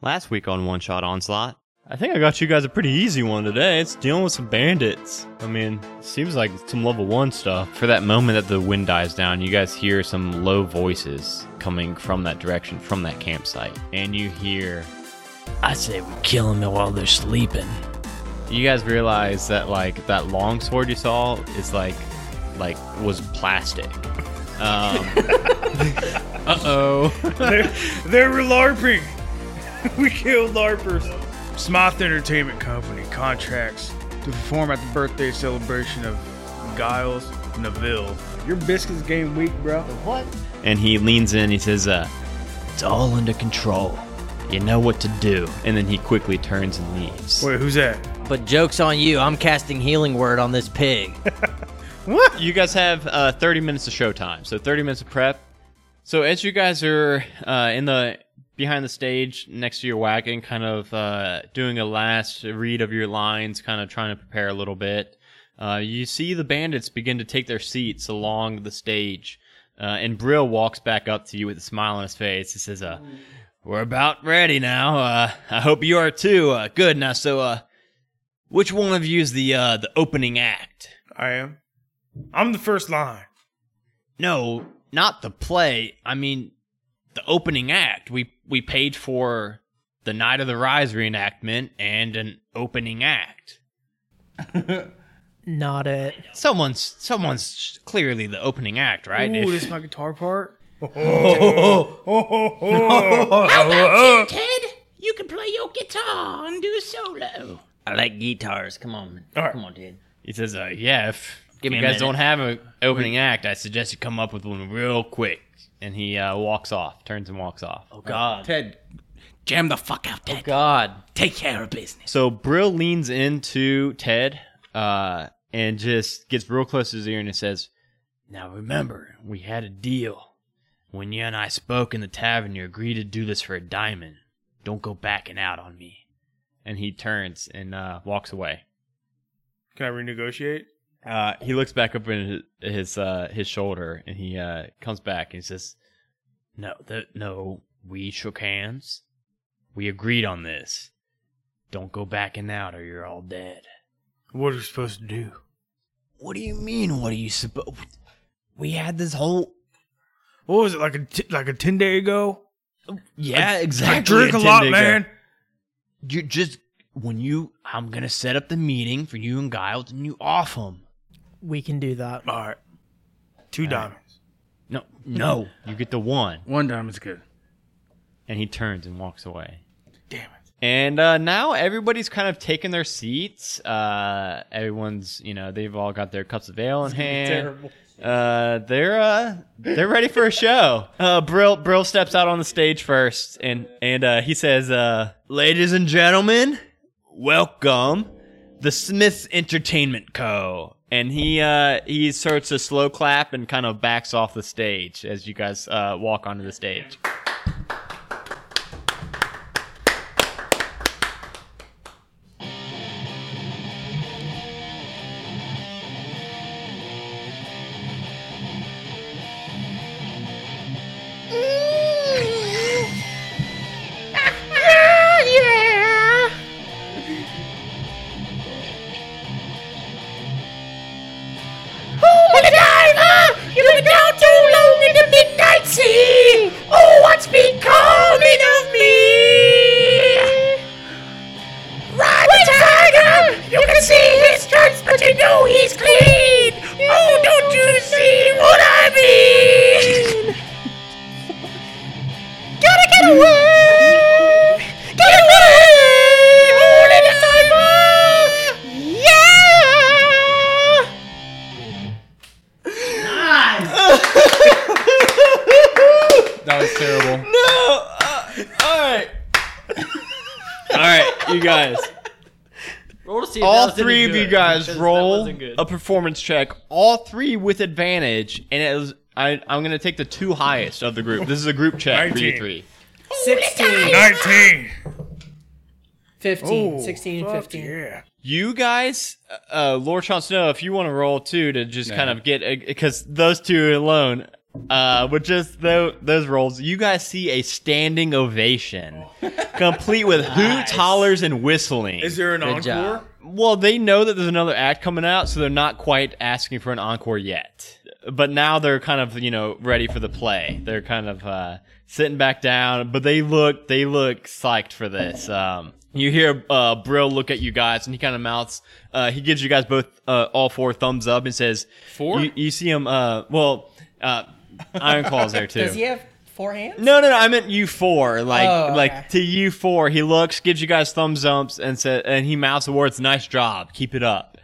last week on One Shot Onslaught. I think I got you guys a pretty easy one today. It's dealing with some bandits. I mean, seems like some level one stuff. For that moment that the wind dies down, you guys hear some low voices coming from that direction, from that campsite. And you hear I say we kill them while they're sleeping. you guys realize that like that long sword you saw is like like was plastic. Um, uh oh. They're, they're LARPing. we killed LARPers. Smoth Entertainment Company contracts to perform at the birthday celebration of Giles Neville. Your biscuits game week, bro. What? And he leans in. He says, uh, It's all under control. You know what to do. and then he quickly turns and leaves. Wait, who's that? But joke's on you, I'm casting Healing Word on this pig. What? you guys have uh, 30 minutes of showtime so 30 minutes of prep so as you guys are uh, in the behind the stage next to your wagon kind of uh, doing a last read of your lines kind of trying to prepare a little bit uh, you see the bandits begin to take their seats along the stage uh, and brill walks back up to you with a smile on his face he says uh, we're about ready now uh, i hope you are too uh, good now so uh, which one of you is the uh, the opening act I am. I'm the first line. No, not the play. I mean, the opening act. We we paid for the Night of the Rise reenactment and an opening act. Not it. Someone's someone's clearly the opening act, right? Ooh, If- this is my guitar part. Uh-huh. Ted, you can play your guitar and do a solo. I like guitars. Come on, man. right. come on, Ted. he says, uh, "Yeah, if Give me you a guys minute. don't have an opening act, I suggest you come up with one real quick." And he uh, walks off, turns and walks off. Oh God, Oh, Ted, jam the fuck out, Ted. God. Take care of business. So Brill leans into Ted uh, and just gets real close to his ear and he says, Now remember, we had a deal. When you and I spoke in the tavern, you agreed to do this for a diamond. Don't go backing out on me. And he turns and uh, walks away. Can I renegotiate? Uh, he looks back up in his his, uh, his shoulder and he uh, comes back and he says, "No, th- no, we shook hands. We agreed on this. Don't go backing out, or you're all dead." What are you supposed to do? What do you mean? What are you supposed? We had this whole. What was it like a t- like a ten day ago? Yeah, exactly. I drink a lot, man. You just when you, I'm gonna set up the meeting for you and Giles, and you off him. We can do that. All right, two diamonds. No, no, you get the one, One diamond's good. and he turns and walks away. Damn it. And uh, now everybody's kind of taken their seats. Uh, everyone's, you know, they've all got their cups of ale in hand. Uh, they're uh, they're ready for a show. Uh, Brill Brill steps out on the stage first, and and uh, he says, uh, "Ladies and gentlemen, welcome, the Smiths Entertainment Co." And he uh, he starts a slow clap and kind of backs off the stage as you guys uh, walk onto the stage. Oh, Oh, That was terrible. All right, you guys. all three of you guys roll a performance check. All three with advantage, and it was, I, I'm going to take the two highest of the group. This is a group check for you 19. three. 16, Nineteen. Oh, 15, 16, fuck 15. Yeah. You guys, uh, Lord Sean Snow, if you want to roll too to just kind of get because those uh, two alone Uh, with just tho- those rolls, you guys see a standing ovation, complete with hoots, hollers, and whistling. Oh. Is there an Good encore? job. Well, they know that there's another act coming out, so they're not quite asking for an encore yet. But now they're kind of, you know, ready for the play. They're kind of uh, sitting back down, but they look they look psyched for this. Um, you hear uh, Brill look at you guys, and he kind of mouths. Uh, he gives you guys both uh, all four thumbs up and says, Four? You, you see him? Uh, well, uh, Iron Claw's there too. Does he have four hands? No, no, no. I meant you four. Like, Oh, okay. like to you four. He looks, gives you guys thumbs ups, and says, and he mouths the words, "Nice job, keep it up."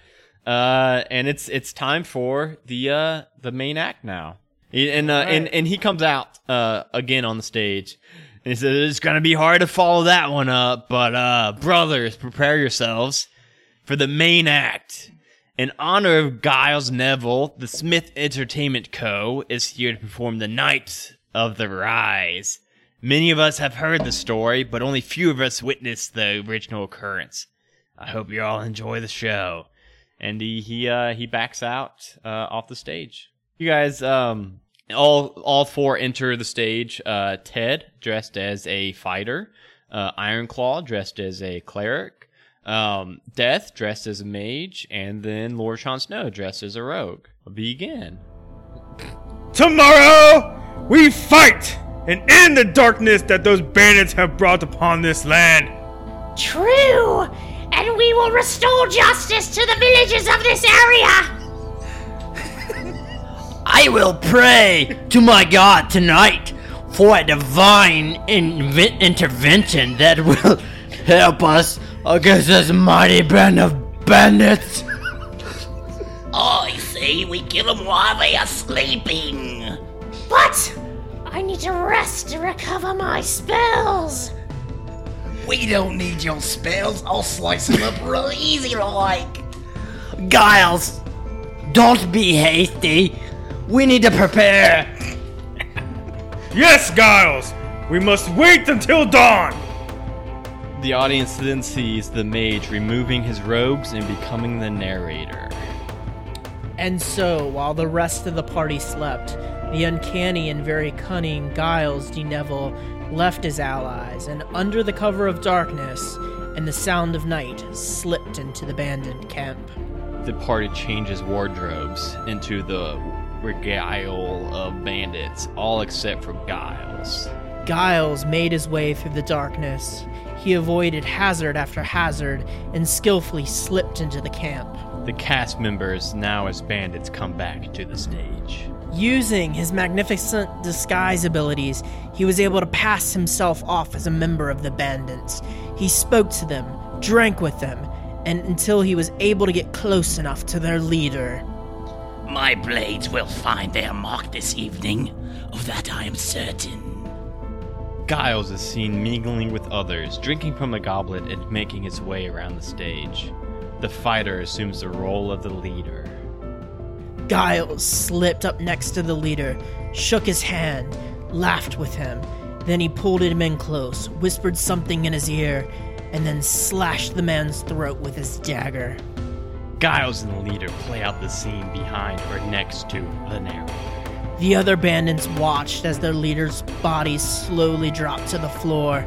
Uh, and it's it's time for the uh the main act now. He- And uh, and and he comes out uh again on the stage. And he says, "It's gonna be hard to follow that one up, but uh, brothers, prepare yourselves for the main act." In honor of Giles Neville, the Smith Entertainment Co. is here to perform the Night of the Rise. Many of us have heard the story, but only few of us witnessed the original occurrence. I hope you all enjoy the show. And he he, uh, he backs out uh, off the stage. You guys, um, all all four enter the stage. Uh, Ted dressed as a fighter, uh, Ironclaw dressed as a cleric, um, Death dressed as a mage, and then Lord Sean Snow dressed as a rogue. Begin. Tomorrow we fight and end the darkness that those bandits have brought upon this land. True! And we will restore justice to the villagers of this area! I will pray to my God tonight for a divine inve- intervention that will help us against this mighty band of bandits. I Oh, see, we kill them while they are sleeping. What? I need to rest to recover my spells! We don't need your spells. I'll slice them up real easy like. Giles, don't be hasty. We need to prepare. Yes, Giles! We must wait until dawn! The audience then sees the mage removing his robes and becoming the narrator. And so, while the rest of the party slept, the uncanny and very cunning Giles de Neville left his allies, and under the cover of darkness and the sound of night, slipped into the bandit camp. The party changes wardrobes into the regale of bandits, all except for Giles. Giles made his way through the darkness. He avoided hazard after hazard and skillfully slipped into the camp. The cast members, now as bandits, come back to the stage. Using his magnificent disguise abilities, he was able to pass himself off as a member of the bandits. He spoke to them, drank with them, and until he was able to get close enough to their leader. My blades will find their mark this evening. Of that I am certain. Giles is seen mingling with others, drinking from a goblet and making his way around the stage. The fighter assumes the role of the leader. Giles slipped up next to the leader, shook his hand, laughed with him. Then he pulled him in close, whispered something in his ear, and then slashed the man's throat with his dagger. Giles and the leader play out the scene behind or next to the narrator. The other bandits watched as their leader's body slowly dropped to the floor.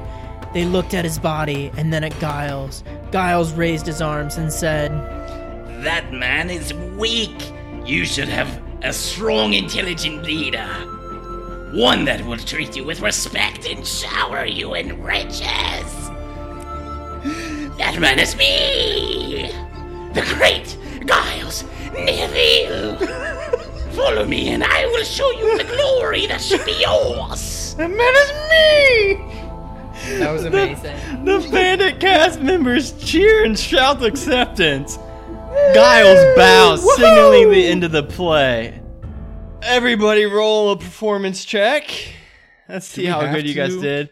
They looked at his body and then at Giles. Giles raised his arms and said, That man is weak. You should have a strong, intelligent leader. One that will treat you with respect and shower you in riches. That man is me, the great Giles Neville. Follow me, and I will show you the glory that should be yours. That man is me! That was amazing. The bandit cast members cheer and shout acceptance. Giles bows, signaling the end of the play. Everybody roll a performance check. Let's see we how have good you guys to? did.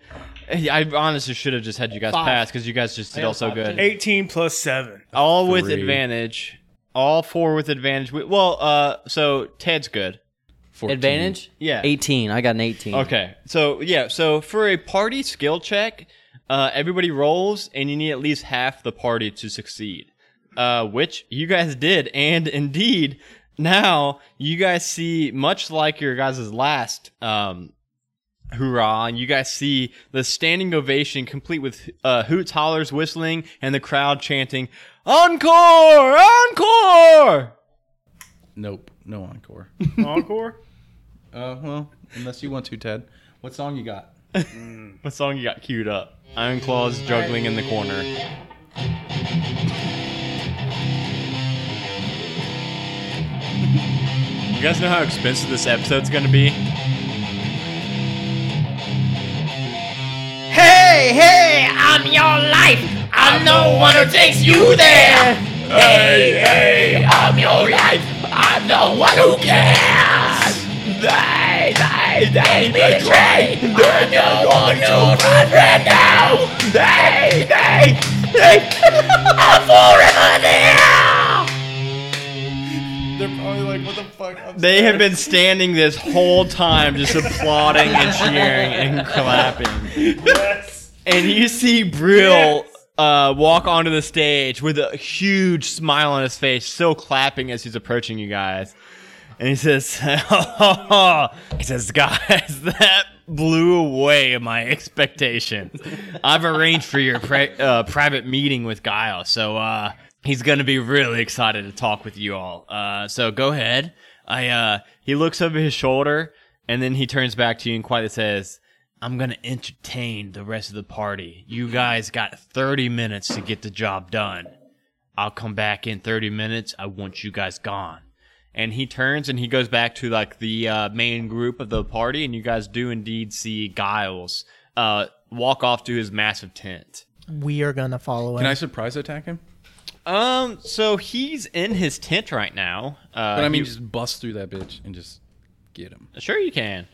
Hey, I honestly should have just had you guys pass because you guys just did all so good. 18 plus 7. All with Three. advantage. All four with advantage. We- Well, uh, so Ted's good. 14. Advantage? Yeah. 18. I got an 18. Okay. So yeah, so for a party skill check, uh, everybody rolls, and you need at least half the party to succeed, uh, which you guys did, and indeed. now you guys see, much like your guys' last um, hoorah, and you guys see the standing ovation complete with uh, hoots, hollers, whistling, and the crowd chanting, Encore! Encore! Nope, no encore. Encore? Uh, well, unless you want to, Ted. What song you got? What song you got queued up? Iron Claws juggling in the corner. You guys know how expensive this episode's gonna be? Hey, hey, I'm your life. I'm no one who takes you there. Hey, hey, I'm your life. I'm the one who cares. They, they, they betray. I'm the one who runs right now. They, they, they. I'm forever there. They're probably like, what the fuck? I'm They have been standing this whole time just applauding and cheering and clapping. And you see Brill uh, walk onto the stage with a huge smile on his face, still clapping as he's approaching you guys. And he says, he says, guys, that blew away my expectations. I've arranged for your pri- uh, private meeting with Guile, so uh, he's going to be really excited to talk with you all. Uh, so go ahead. I uh, he looks over his shoulder and then he turns back to you and quietly says, "I'm going to entertain the rest of the party. You guys got 30 minutes to get the job done. I'll come back in 30 minutes. I want you guys gone." and he turns and he goes back to like the uh, main group of the party and you guys do indeed see giles uh, walk off to his massive tent We are gonna follow Can I him. surprise attack him? um so he's in his tent right now uh, But I mean, he- just bust through that bitch and just get him. sure you can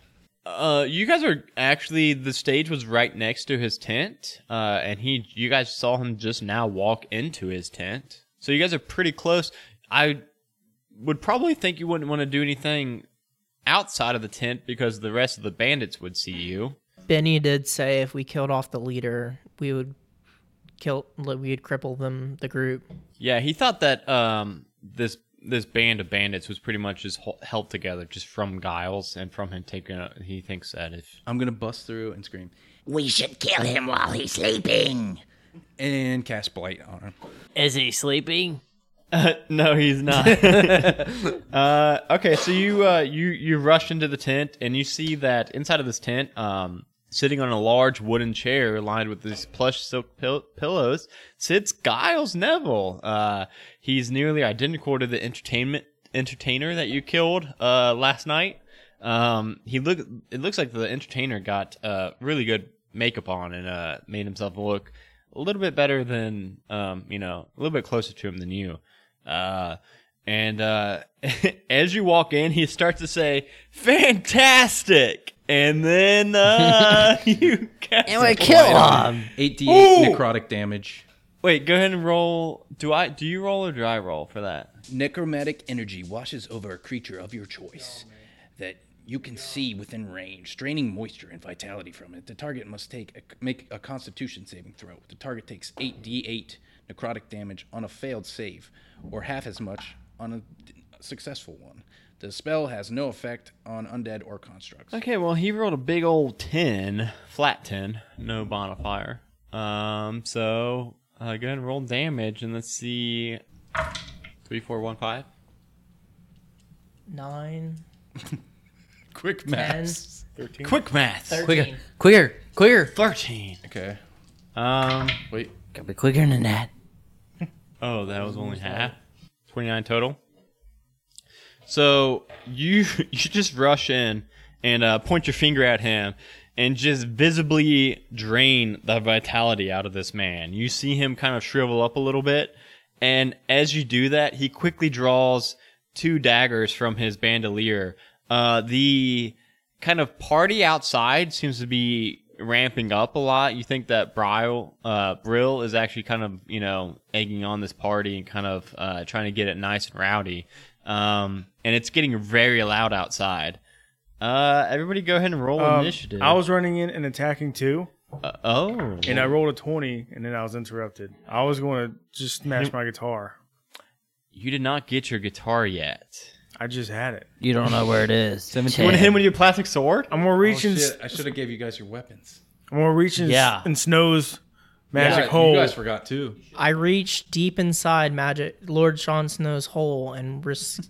uh, you guys are actually the stage was right next to his tent uh, and he you guys saw him just now walk into his tent so you guys are pretty close i would probably think you wouldn't want to do anything outside of the tent because the rest of the bandits would see you Benny did say if we killed off the leader, we would kill, we would cripple them, the group. Yeah, he thought that um, this this band of bandits was pretty much just hel- held together just from Giles and from him taking. A, he thinks that if I'm gonna bust through and scream We should kill him while he's sleeping. and cast blight on him. Is he sleeping? no, he's not. uh, okay, so you uh, you you rush into the tent and you see that inside of this tent, um, sitting on a large wooden chair lined with these plush silk pill- pillows, sits Giles Neville. Uh, he's nearly identical to the entertainment entertainer that you killed uh, last night. Um, he look. It looks like the entertainer got uh, really good makeup on and uh, made himself look a little bit better than um, you know, a little bit closer to him than you. Uh, and uh, as you walk in, he starts to say, "Fantastic!" And then uh, you guys him. 88 necrotic damage. Wait, go ahead and roll. Do I do you roll or do I roll for that? Necromantic energy washes over a creature of your choice that you can see within range, draining moisture and vitality from it. The target must take a, make a Constitution saving throw. The target takes 8d8 necrotic damage on a failed save, or half as much on a successful one. The spell has no effect on undead or constructs. Okay, well he rolled a big old ten, flat ten, no bonfire. Um, so uh, go ahead and roll damage, and let's see, three, four, one, five. Nine, Quick ten, maths. Quick math. thirteen. Quicker, quicker. Thirteen. Okay. Um. Wait. Gotta be quicker than that. Oh, that was only half. Twenty nine total. So you you just rush in and uh, point your finger at him and just visibly drain the vitality out of this man. You see him kind of shrivel up a little bit, and as you do that, he quickly draws two daggers from his bandolier. Uh, the kind of party outside seems to be ramping up a lot. You think that Brill, uh, Brill is actually kind of, you know, egging on this party and kind of uh, trying to get it nice and rowdy. Um, and it's getting very loud outside. Uh, everybody go ahead and roll Um, initiative. I was running in and attacking too, Uh, oh. and I rolled a 20, and then I was interrupted. I was going to just smash my guitar. you did not get your guitar yet. I just had it. You don't know where it is. You want to hit him with your plastic sword? I'm gonna reach Oh, in. shit, I should have gave you guys your weapons. I'm gonna reach in. Yeah. In Snow's magic Yeah, you hole. guys forgot too. I reach deep inside Magic Lord Sean Snow's hole and res-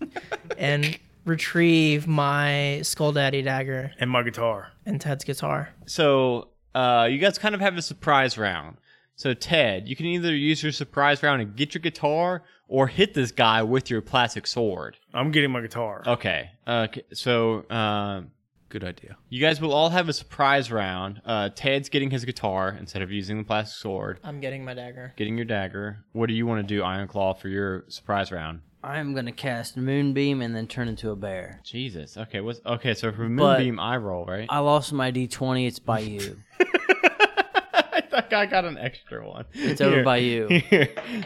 and retrieve my Skull Daddy dagger and my guitar and Ted's guitar. So uh, you guys kind of have a surprise round. So Ted, you can either use your surprise round and get your guitar, or hit this guy with your plastic sword. I'm getting my guitar. Okay. Uh, c- so um, good idea. You guys will all have a surprise round. Uh, Ted's getting his guitar instead of using the plastic sword. I'm getting my dagger. Getting your dagger. What do you want to do, Iron Claw, for your surprise round? I'm gonna cast Moonbeam and then turn into a bear. Jesus. Okay. What's okay? So for But- moonbeam, I roll right. I lost my D20. It's by you. That guy got an extra one. It's over by you. Here.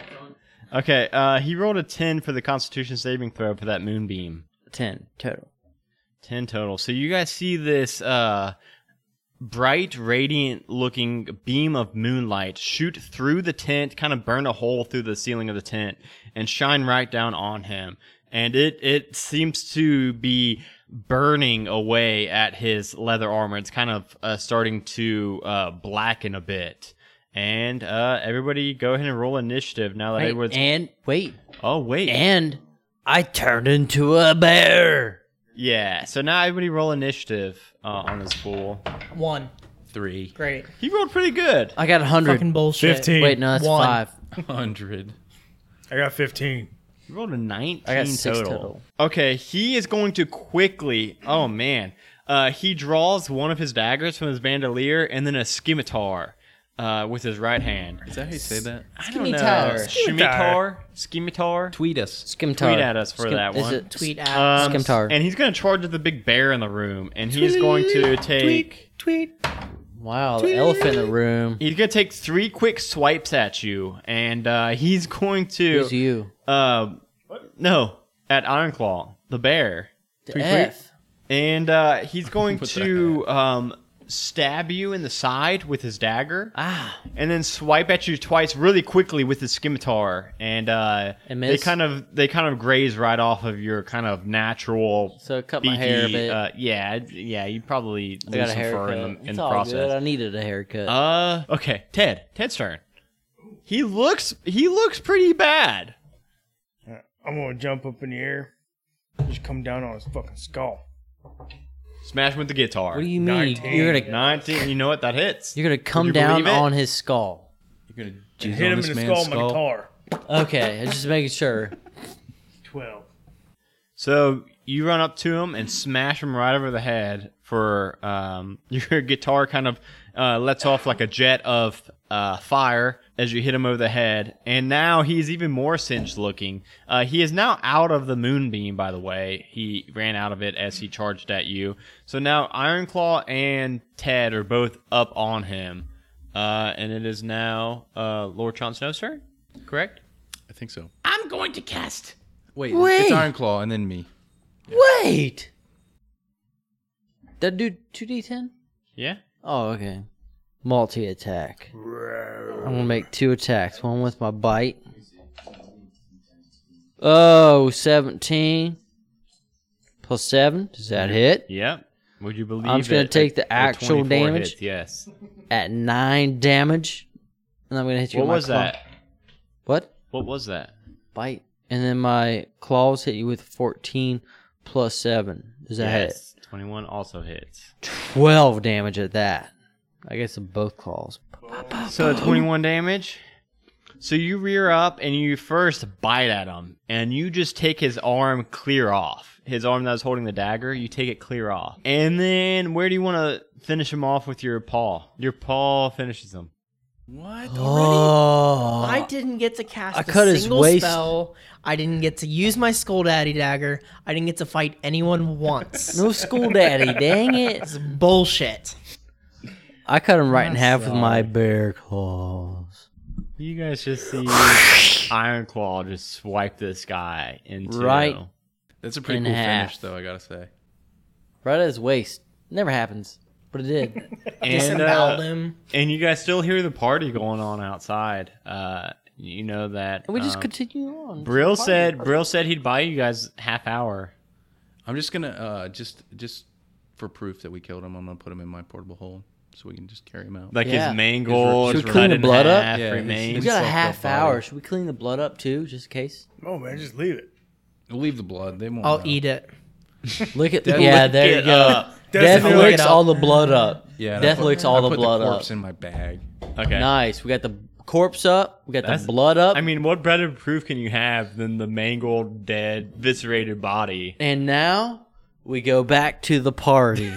Okay, uh, he rolled a 10 for the Constitution saving throw for that moonbeam. 10 total. 10 total. So you guys see this uh, bright, radiant looking beam of moonlight shoot through the tent, kind of burn a hole through the ceiling of the tent, and shine right down on him. And it, it seems to be burning away at his leather armor. It's kind of uh, starting to uh, blacken a bit. And uh, everybody go ahead and roll initiative now that Wait, Edward's. and wait. Oh, wait. And I turned into a bear. Yeah, so now everybody roll initiative uh, on this fool. One. Three. Great. He rolled pretty good. I got 100. Fucking bullshit. 15. Wait, no, that's One. five. 100. I got 15. You rolled a 19 I got six total. total. Okay, he is going to quickly. Oh, man. Uh, he draws one of his daggers from his bandolier and then a scimitar uh, with his right hand. Is that how you say that? I don't Scimitar. know. Scimitar. Scimitar. Scimitar. Tweet us. Scimitar. Tweet at us for Skim- that is one. it tweet at- Uh, Um, Scimitar. And he's going to charge at the big bear in the room, and he's going to Tweet, take. Tweet. Wow, the elephant in the room. He's gonna take three quick swipes at you, and uh, he's going to. Who's you? Uh, no, at Ironclaw, the bear. The Three F. quick? And uh, he's going to um, stab you in the side with his dagger. Ah. And then swipe at you twice really quickly with his scimitar, and uh, And they miss? kind of they kind of graze right off of your kind of natural. So it cut my hair a beefy, bit. Uh, yeah, yeah, you probably I got lose a some fur haircut. in the, in it's the all process. good. I needed a haircut. Uh, okay, Ted. Ted's turn. He looks he looks pretty bad. I'm gonna jump up in the air, just come down on his fucking skull. Smash him with the guitar. What do you mean? 19. You're gonna- nineteen? You know what? That hits. You're gonna come you down believe it? on his skull. You're gonna Hit him in the skull, with my guitar. Okay, I'm just making sure. 12. So you run up to him and smash him right over the head. For um, your guitar kind of uh, lets off like a jet of uh, fire as you hit him over the head, and now he's even more singed looking. Uh, he is now out of the moonbeam, by the way. He ran out of it as he charged at you. So now Ironclaw and Ted are both up on him, uh, and it is now uh, Lord Chon Snow's turn. Correct. I think so. I'm going to cast. Wait, Wait. it's Iron Claw and then me. Wait. That dude, two D ten. Yeah. Oh, okay. Multi attack. I'm gonna make two attacks. One with my bite. Oh, 17 plus seven. Does that hit? Yep. Would you believe? I'm just gonna it? take A- the a actual 24 damage. hits, yes. At nine damage, and I'm gonna hit you. What with my was claw. that? What? What was that? Bite. And then my claws hit you with 14 plus seven. Does that hit? yes. Twenty-one also hits. 12 damage at that. I guess of both claws. So twenty-one damage. So you rear up and you first bite at him, and you just take his arm clear off. His arm that was holding the dagger, you take it clear off. And then where do you want to finish him off with your paw? Your paw finishes him. What? Oh. I didn't get to cast I a cut his single waist. spell. I didn't get to use my Skull Daddy dagger. I didn't get to fight anyone once. No Skull Daddy, dang it. It's bullshit. I cut him right in I'm half with my bear claws. You guys just see Iron Claw just swipe this guy into Right. That's a pretty In cool half. finish, though. I gotta say. Right at his waist. Never happens, but it did. and, uh, and you guys still hear the party going on outside. Uh, you know that. And we just um, continue on. Brill said Brill said he'd buy you guys half hour I'm just gonna uh, just just for proof that we killed him, I'm gonna put him in my portable hole so we can just carry him out. Like his Yeah. mangle, mangle, his Should we clean the blood up? Yeah, it's- we it's got a soaked up half body. hour. Should we clean the blood up too, just in case? Oh man, just leave it. Leave the blood. They won't. I'll eat it. Look at yeah, there you go. Death licks all the blood up. Yeah, and I Death put- licks all I the put blood the corpse up. in my bag. Okay. Nice. We got the corpse up. We got That's- the blood up. I mean, what better proof can you have than the mangled, dead, viscerated body? And now we go back to the party.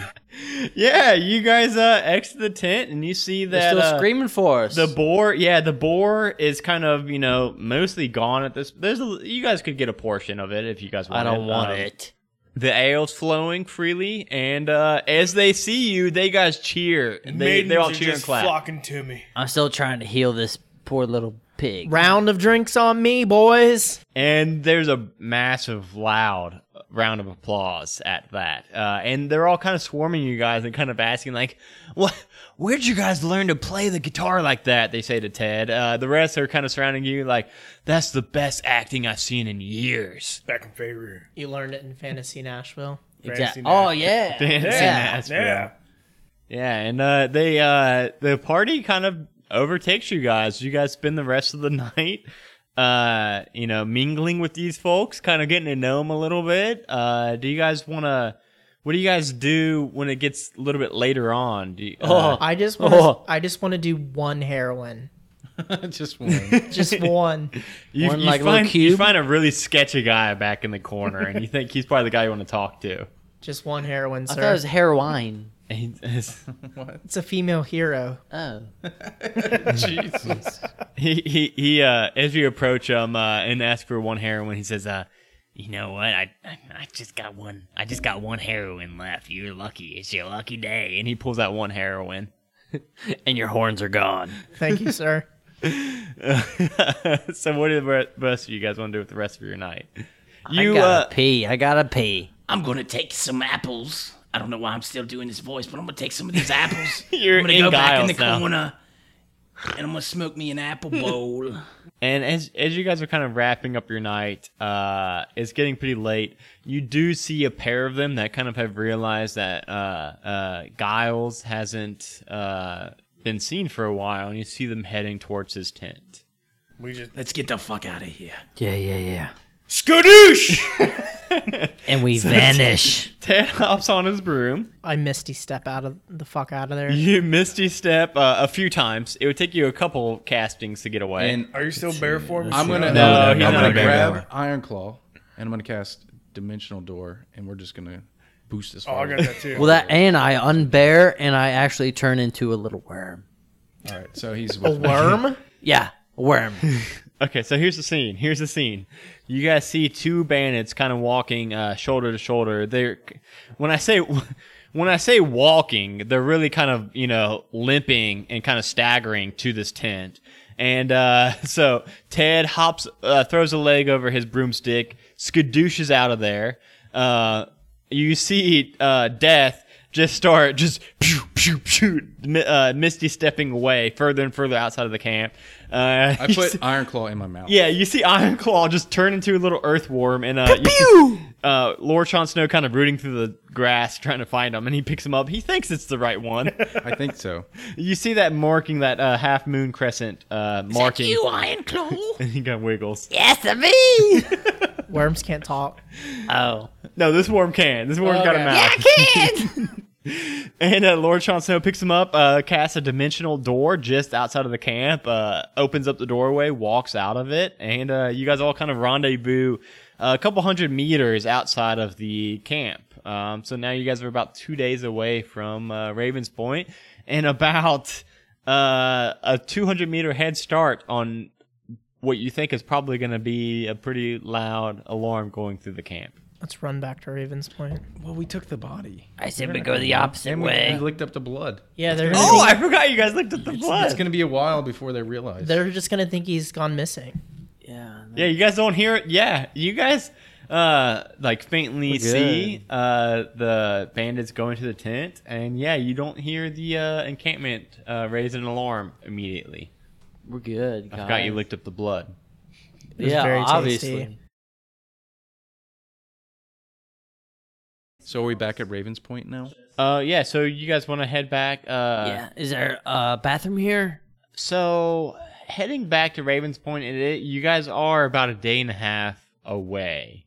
Yeah, you guys uh, exit the tent and you see that still uh, screaming for us. The boar, yeah, the boar is kind of you know mostly gone at this. There's a, you guys could get a portion of it if you guys want. I don't want Um, it. The ale's flowing freely, and uh, as they see you, they guys cheer. They they all cheer and clap. to me. I'm still trying to heal this poor little pig. Round of drinks on me, boys. And there's a massive, loud round of applause at that. Uh, and they're all kind of swarming you guys and kind of asking, like, "What? Where'd you guys learn to play the guitar like that?" They say to Ted. Uh, the rest are kind of surrounding you, like, "That's the best acting I've seen in years." Back in Fairview. You learned it in Fantasy Nashville. Exact- Fantasy Oh Nashville. yeah. Fantasy Nashville. Yeah. and uh, they uh, the party kind of overtakes you guys. You guys spend the rest of the night, uh, you know, mingling with these folks, kind of getting to know them a little bit. Uh, do you guys want to? What do you guys do when it gets a little bit later on? Do you, uh, I just want to, I just want to do one heroin. just one. just one. You, you find, you find a really sketchy guy back in the corner, and you think he's probably the guy you want to talk to. Just one heroin, I sir. thought it was heroin. what? It's a female hero. Oh. Jesus. he he he uh as you approach him uh and ask for one heroin he says uh You know what? I, I I just got one. I just got one heroin left. You're lucky. It's your lucky day. and he pulls out one heroin and your horns are gone Thank you, sir. so what do the re- rest of you guys want to do with the rest of your night I you gotta uh pee I gotta pee I'm gonna take some apples. I don't know why I'm still doing this voice, but I'm gonna take some of these apples. You're I'm gonna in go back in the Giles now. corner, and I'm gonna smoke me an apple bowl. and as as you guys are kind of wrapping up your night uh it's getting pretty late you do see a pair of them that kind of have realized that uh uh giles hasn't uh been seen for a while and you see them heading towards his tent We just let's get the fuck out of here. Yeah, yeah, yeah. Skadoosh! And we So- vanish. Ted hops on his broom. I misty step out of the fuck out of there. You misty step uh, a few times. It would take you a couple castings to get away. are you still bareformed? I'm gonna uh, No, I'm he's not gonna a bear. grab Iron Claw and I'm gonna cast Dimensional Door and we're just gonna boost this. Oh, I forward. got that too. Well, that and I unbear and I actually turn into a little worm. All right, so he's A with me. worm? Yeah, a worm. okay, so here's the scene. Here's the scene. You guys see two bandits kind of walking uh, shoulder to shoulder. They're when I say when I say walking, they're really kind of you know limping and kind of staggering to this tent. And uh, so Ted hops, uh, throws a leg over his broomstick, skadooshes out of there. Uh, you see uh, Death just start just pew pew pew, mi- uh, Misty stepping away further and further outside of the camp. Uh, I put Iron Claw in my mouth. yeah, you see Iron Claw just turn into a little earthworm, and uh, you see, uh, Lord Sean Snow kind of rooting through the grass trying to find him, and he picks him up. He thinks it's the right one. I think so. You see that marking, that uh, half moon crescent uh, marking. you, Iron Claw? and he got wiggles. Yes, a me. Worms can't talk. Oh no, this worm can. This Oh, worm's got a Okay. mouth. Yeah, I can. and uh, Lord Sean Snow picks him up, uh, casts a dimensional door just outside of the camp, uh, opens up the doorway, walks out of it, and uh, you guys all kind of rendezvous a couple hundred meters outside of the camp. Um, so now you guys are about two days away from uh, Ravens Point, and about uh, a 200 meter head start on what you think is probably going to be a pretty loud alarm going through the camp. Let's run back to Raven's Point. Well, we took the body. I said We're we not go gonna- the opposite and we- way. We licked up the blood. Yeah, they're Oh, gonna I think- forgot you guys looked at the It's gonna be a while before they realize. They're just gonna think he's gone missing. Yeah, you guys don't hear it. Yeah, you guys uh like faintly We're good. see uh the bandits go into the tent and yeah, you don't hear the uh encampment uh raise an alarm immediately. We're good. I forgot you guys. licked up the blood. Yeah, obviously. So are we back at Raven's Point now? Uh, yeah. So you guys want to head back? Uh, Yeah, is there a bathroom here? So heading back to Ravens Point, it, it- you guys are about a day and a half away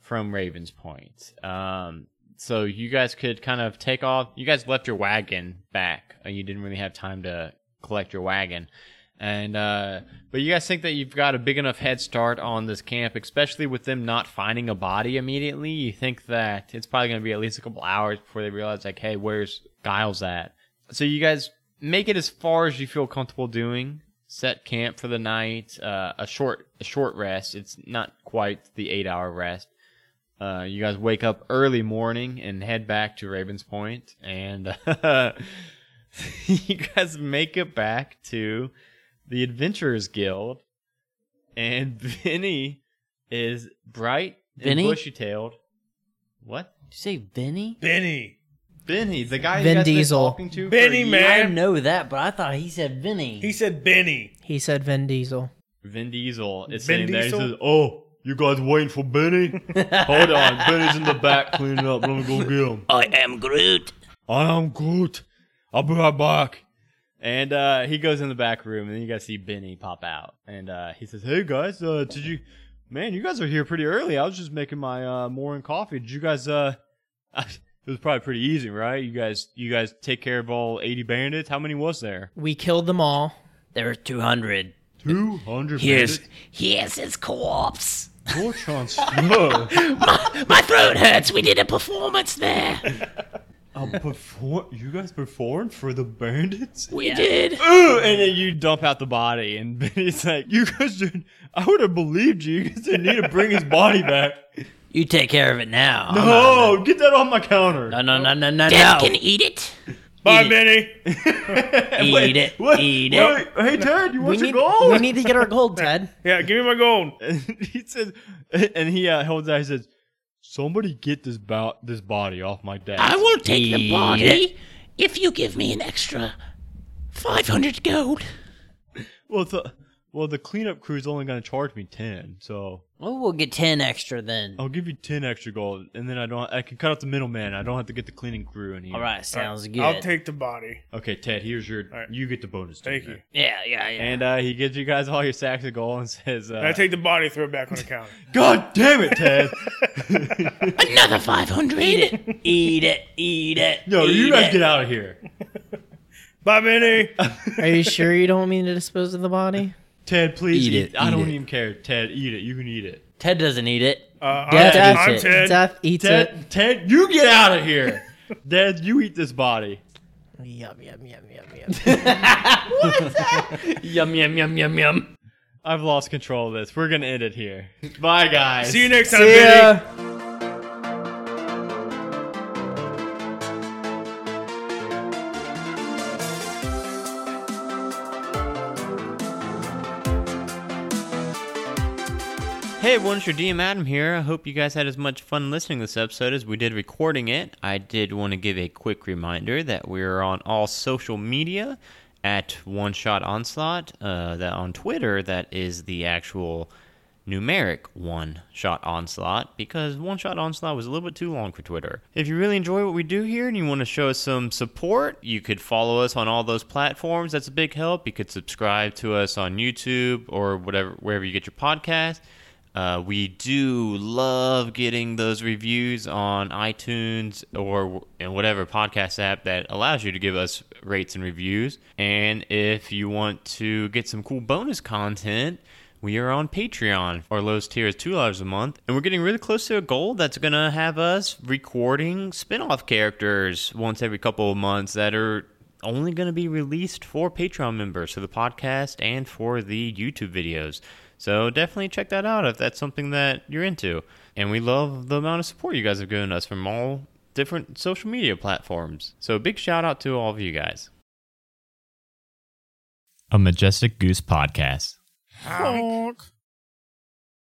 from Ravens Point. Um, so you guys could kind of take off. You guys left your wagon back, and you didn't really have time to collect your wagon. And uh, but you guys think that you've got a big enough head start on this camp, especially with them not finding a body immediately. You think that it's probably going to be at least a couple hours before they realize, like, hey, where's Giles at? So you guys make it as far as you feel comfortable doing. Set camp for the night. Uh, a short a short rest. It's not quite the eight hour rest. Uh, you guys wake up early morning and head back to Ravens Point, and you guys make it back to the Adventurers Guild, and Vinny is bright Vinny? and bushy tailed. What? Did you say Vinny? Benny. Benny, the guy you Vin guys been Diesel. talking to for Benny, years. I man. know that, but I thought he said Vinny. He said Benny. He said Vin Diesel. Vin Diesel is Vin sitting there. He Diesel? says, "Oh, you guys waiting for Benny? Hold on, Benny's in the back cleaning up. Let me go get him." I am Groot. I am Groot. I'll be right back. And uh, he goes in the back room, and then you guys see Benny pop out, and uh, he says, "Hey guys, uh, did you? Man, you guys are here pretty early. I was just making my uh, morning coffee. Did you guys? Uh, it was probably pretty easy, right? You guys, you guys take care of all eighty bandits. How many was there? We killed them all. There were 200. Two hundred. Here's- Here's his corpse. Torchon's my, my throat hurts. We did a performance there. Um, perform- you guys performed for the bandits? We did. Ooh, and then you dump out the body, and Benny's like, "You guys, didn't, I would have believed you. You guys didn't need to bring his body back. You take care of it now. I'm out. No, get that on my counter. No, no, no, no, no, Death no. can eat it. Bye, Benny. Eat it. Eat it. hey, Ted, you want We your need, gold? we need to get our gold, Ted. Yeah, give me my gold. and he says, and he uh, holds out. He says, "Somebody get this bo- this body off my desk." I will take the Eat body if you give me an extra 500 gold. well, the well, the cleanup crew's only going to charge me ten, so Well, we'll get 10 extra then. I'll give you ten extra gold, and then I don't. I can cut out the middleman. I don't have to get the cleaning crew in here. All right, sounds good. I'll take the body. Okay, Ted. Here's your. You get the bonus. doing Thank you. that. Yeah, yeah, yeah. And uh, he gives you guys all your sacks of gold and says, uh, And I take the body, throw it back on the counter. "God damn it, Ted! Another 500. Eat it. Eat it. Eat it. No, eat you guys it. get out of here. Bye, Benny. Are you sure you don't want me to dispose of the body? Ted, please Eat eat, it, I eat don't it. even care. Ted, eat it. You can eat it. Ted doesn't eat it. Uh, Death I'm, eats I'm it. Ted. Death eats Ted, it. Ted, you get out of here. Ted, you eat this body. Yum yum yum yum yum. Yum, yum, yum, yum, yum. I've lost control of this. We're gonna end it here. Bye, guys. See you next time, See Benny. ya. Hey everyone, it's your DM Adam here. I hope you guys had as much fun listening to this episode as we did recording it. I did want to give a quick reminder that we're on all social media at One Shot Onslaught. Uh, that on Twitter, that is the actual numeric One Shot Onslaught because One Shot Onslaught was a little bit too long for Twitter. If you really enjoy what we do here and you want to show us some support, you could follow us on all those platforms. That's a big help. You could subscribe to us on YouTube or whatever wherever you get your podcast. Uh, we do love getting those reviews on iTunes or in whatever podcast app that allows you to give us rates and reviews. And if you want to get some cool bonus content, we are on Patreon. Our lowest tier is $2 a month. And we're getting really close to a goal that's going to have us recording spin off characters once every couple of months that are only going to be released for Patreon members, for the podcast and for the YouTube videos. So definitely check that out if that's something that you're into. And we love the amount of support you guys have given us from all different social media platforms. So big shout out to all of you guys. A Majestic Goose Podcast. Honk.